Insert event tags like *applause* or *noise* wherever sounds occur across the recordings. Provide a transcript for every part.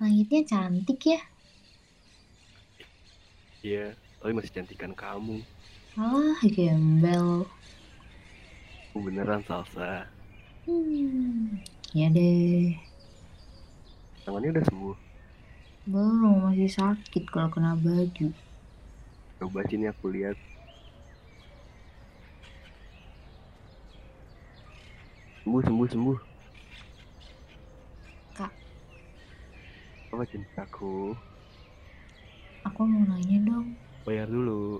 Langitnya cantik ya. Iya, tapi masih cantikan kamu. Alah, Ah, gembel. Aku beneran salsa. Hmm, ya deh. Tangannya udah sembuh. Belum, masih sakit kalau kena baju. Coba sini aku lihat. Sembuh, sembuh, sembuh. Kak. Apa cintaku? Aku mau nanya dong. Bayar dulu.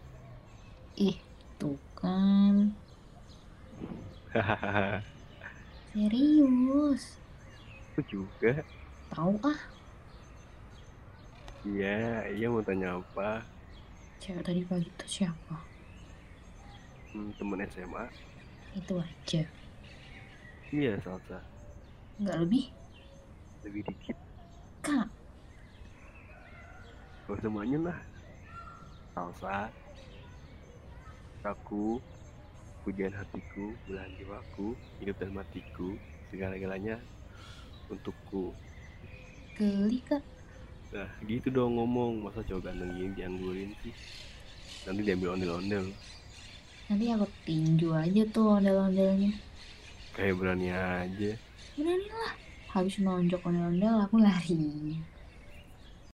*laughs* Ih, tuh kan. Hahaha. Serius. aku juga. Tahu ah, Iya, iya mau tanya apa? cewek tadi pagi itu siapa? Hmm, temen SMA? Itu aja. Iya, salsa. Nggak lebih? Lebih dikit. Kak, Gak usah manyun lah. Salsa. Aku. Pujian hatiku, belahan jiwaku, hidup dan matiku, segala-galanya untukku. geli kak. Nah, gitu dong ngomong. Masa cowok ganteng gini dianggurin sih? Nanti diambil ondel-ondel. Nanti aku tinju aja tuh ondel-ondelnya. Kayak berani aja. Berani lah. Habis nonjok ondel-ondel aku lari.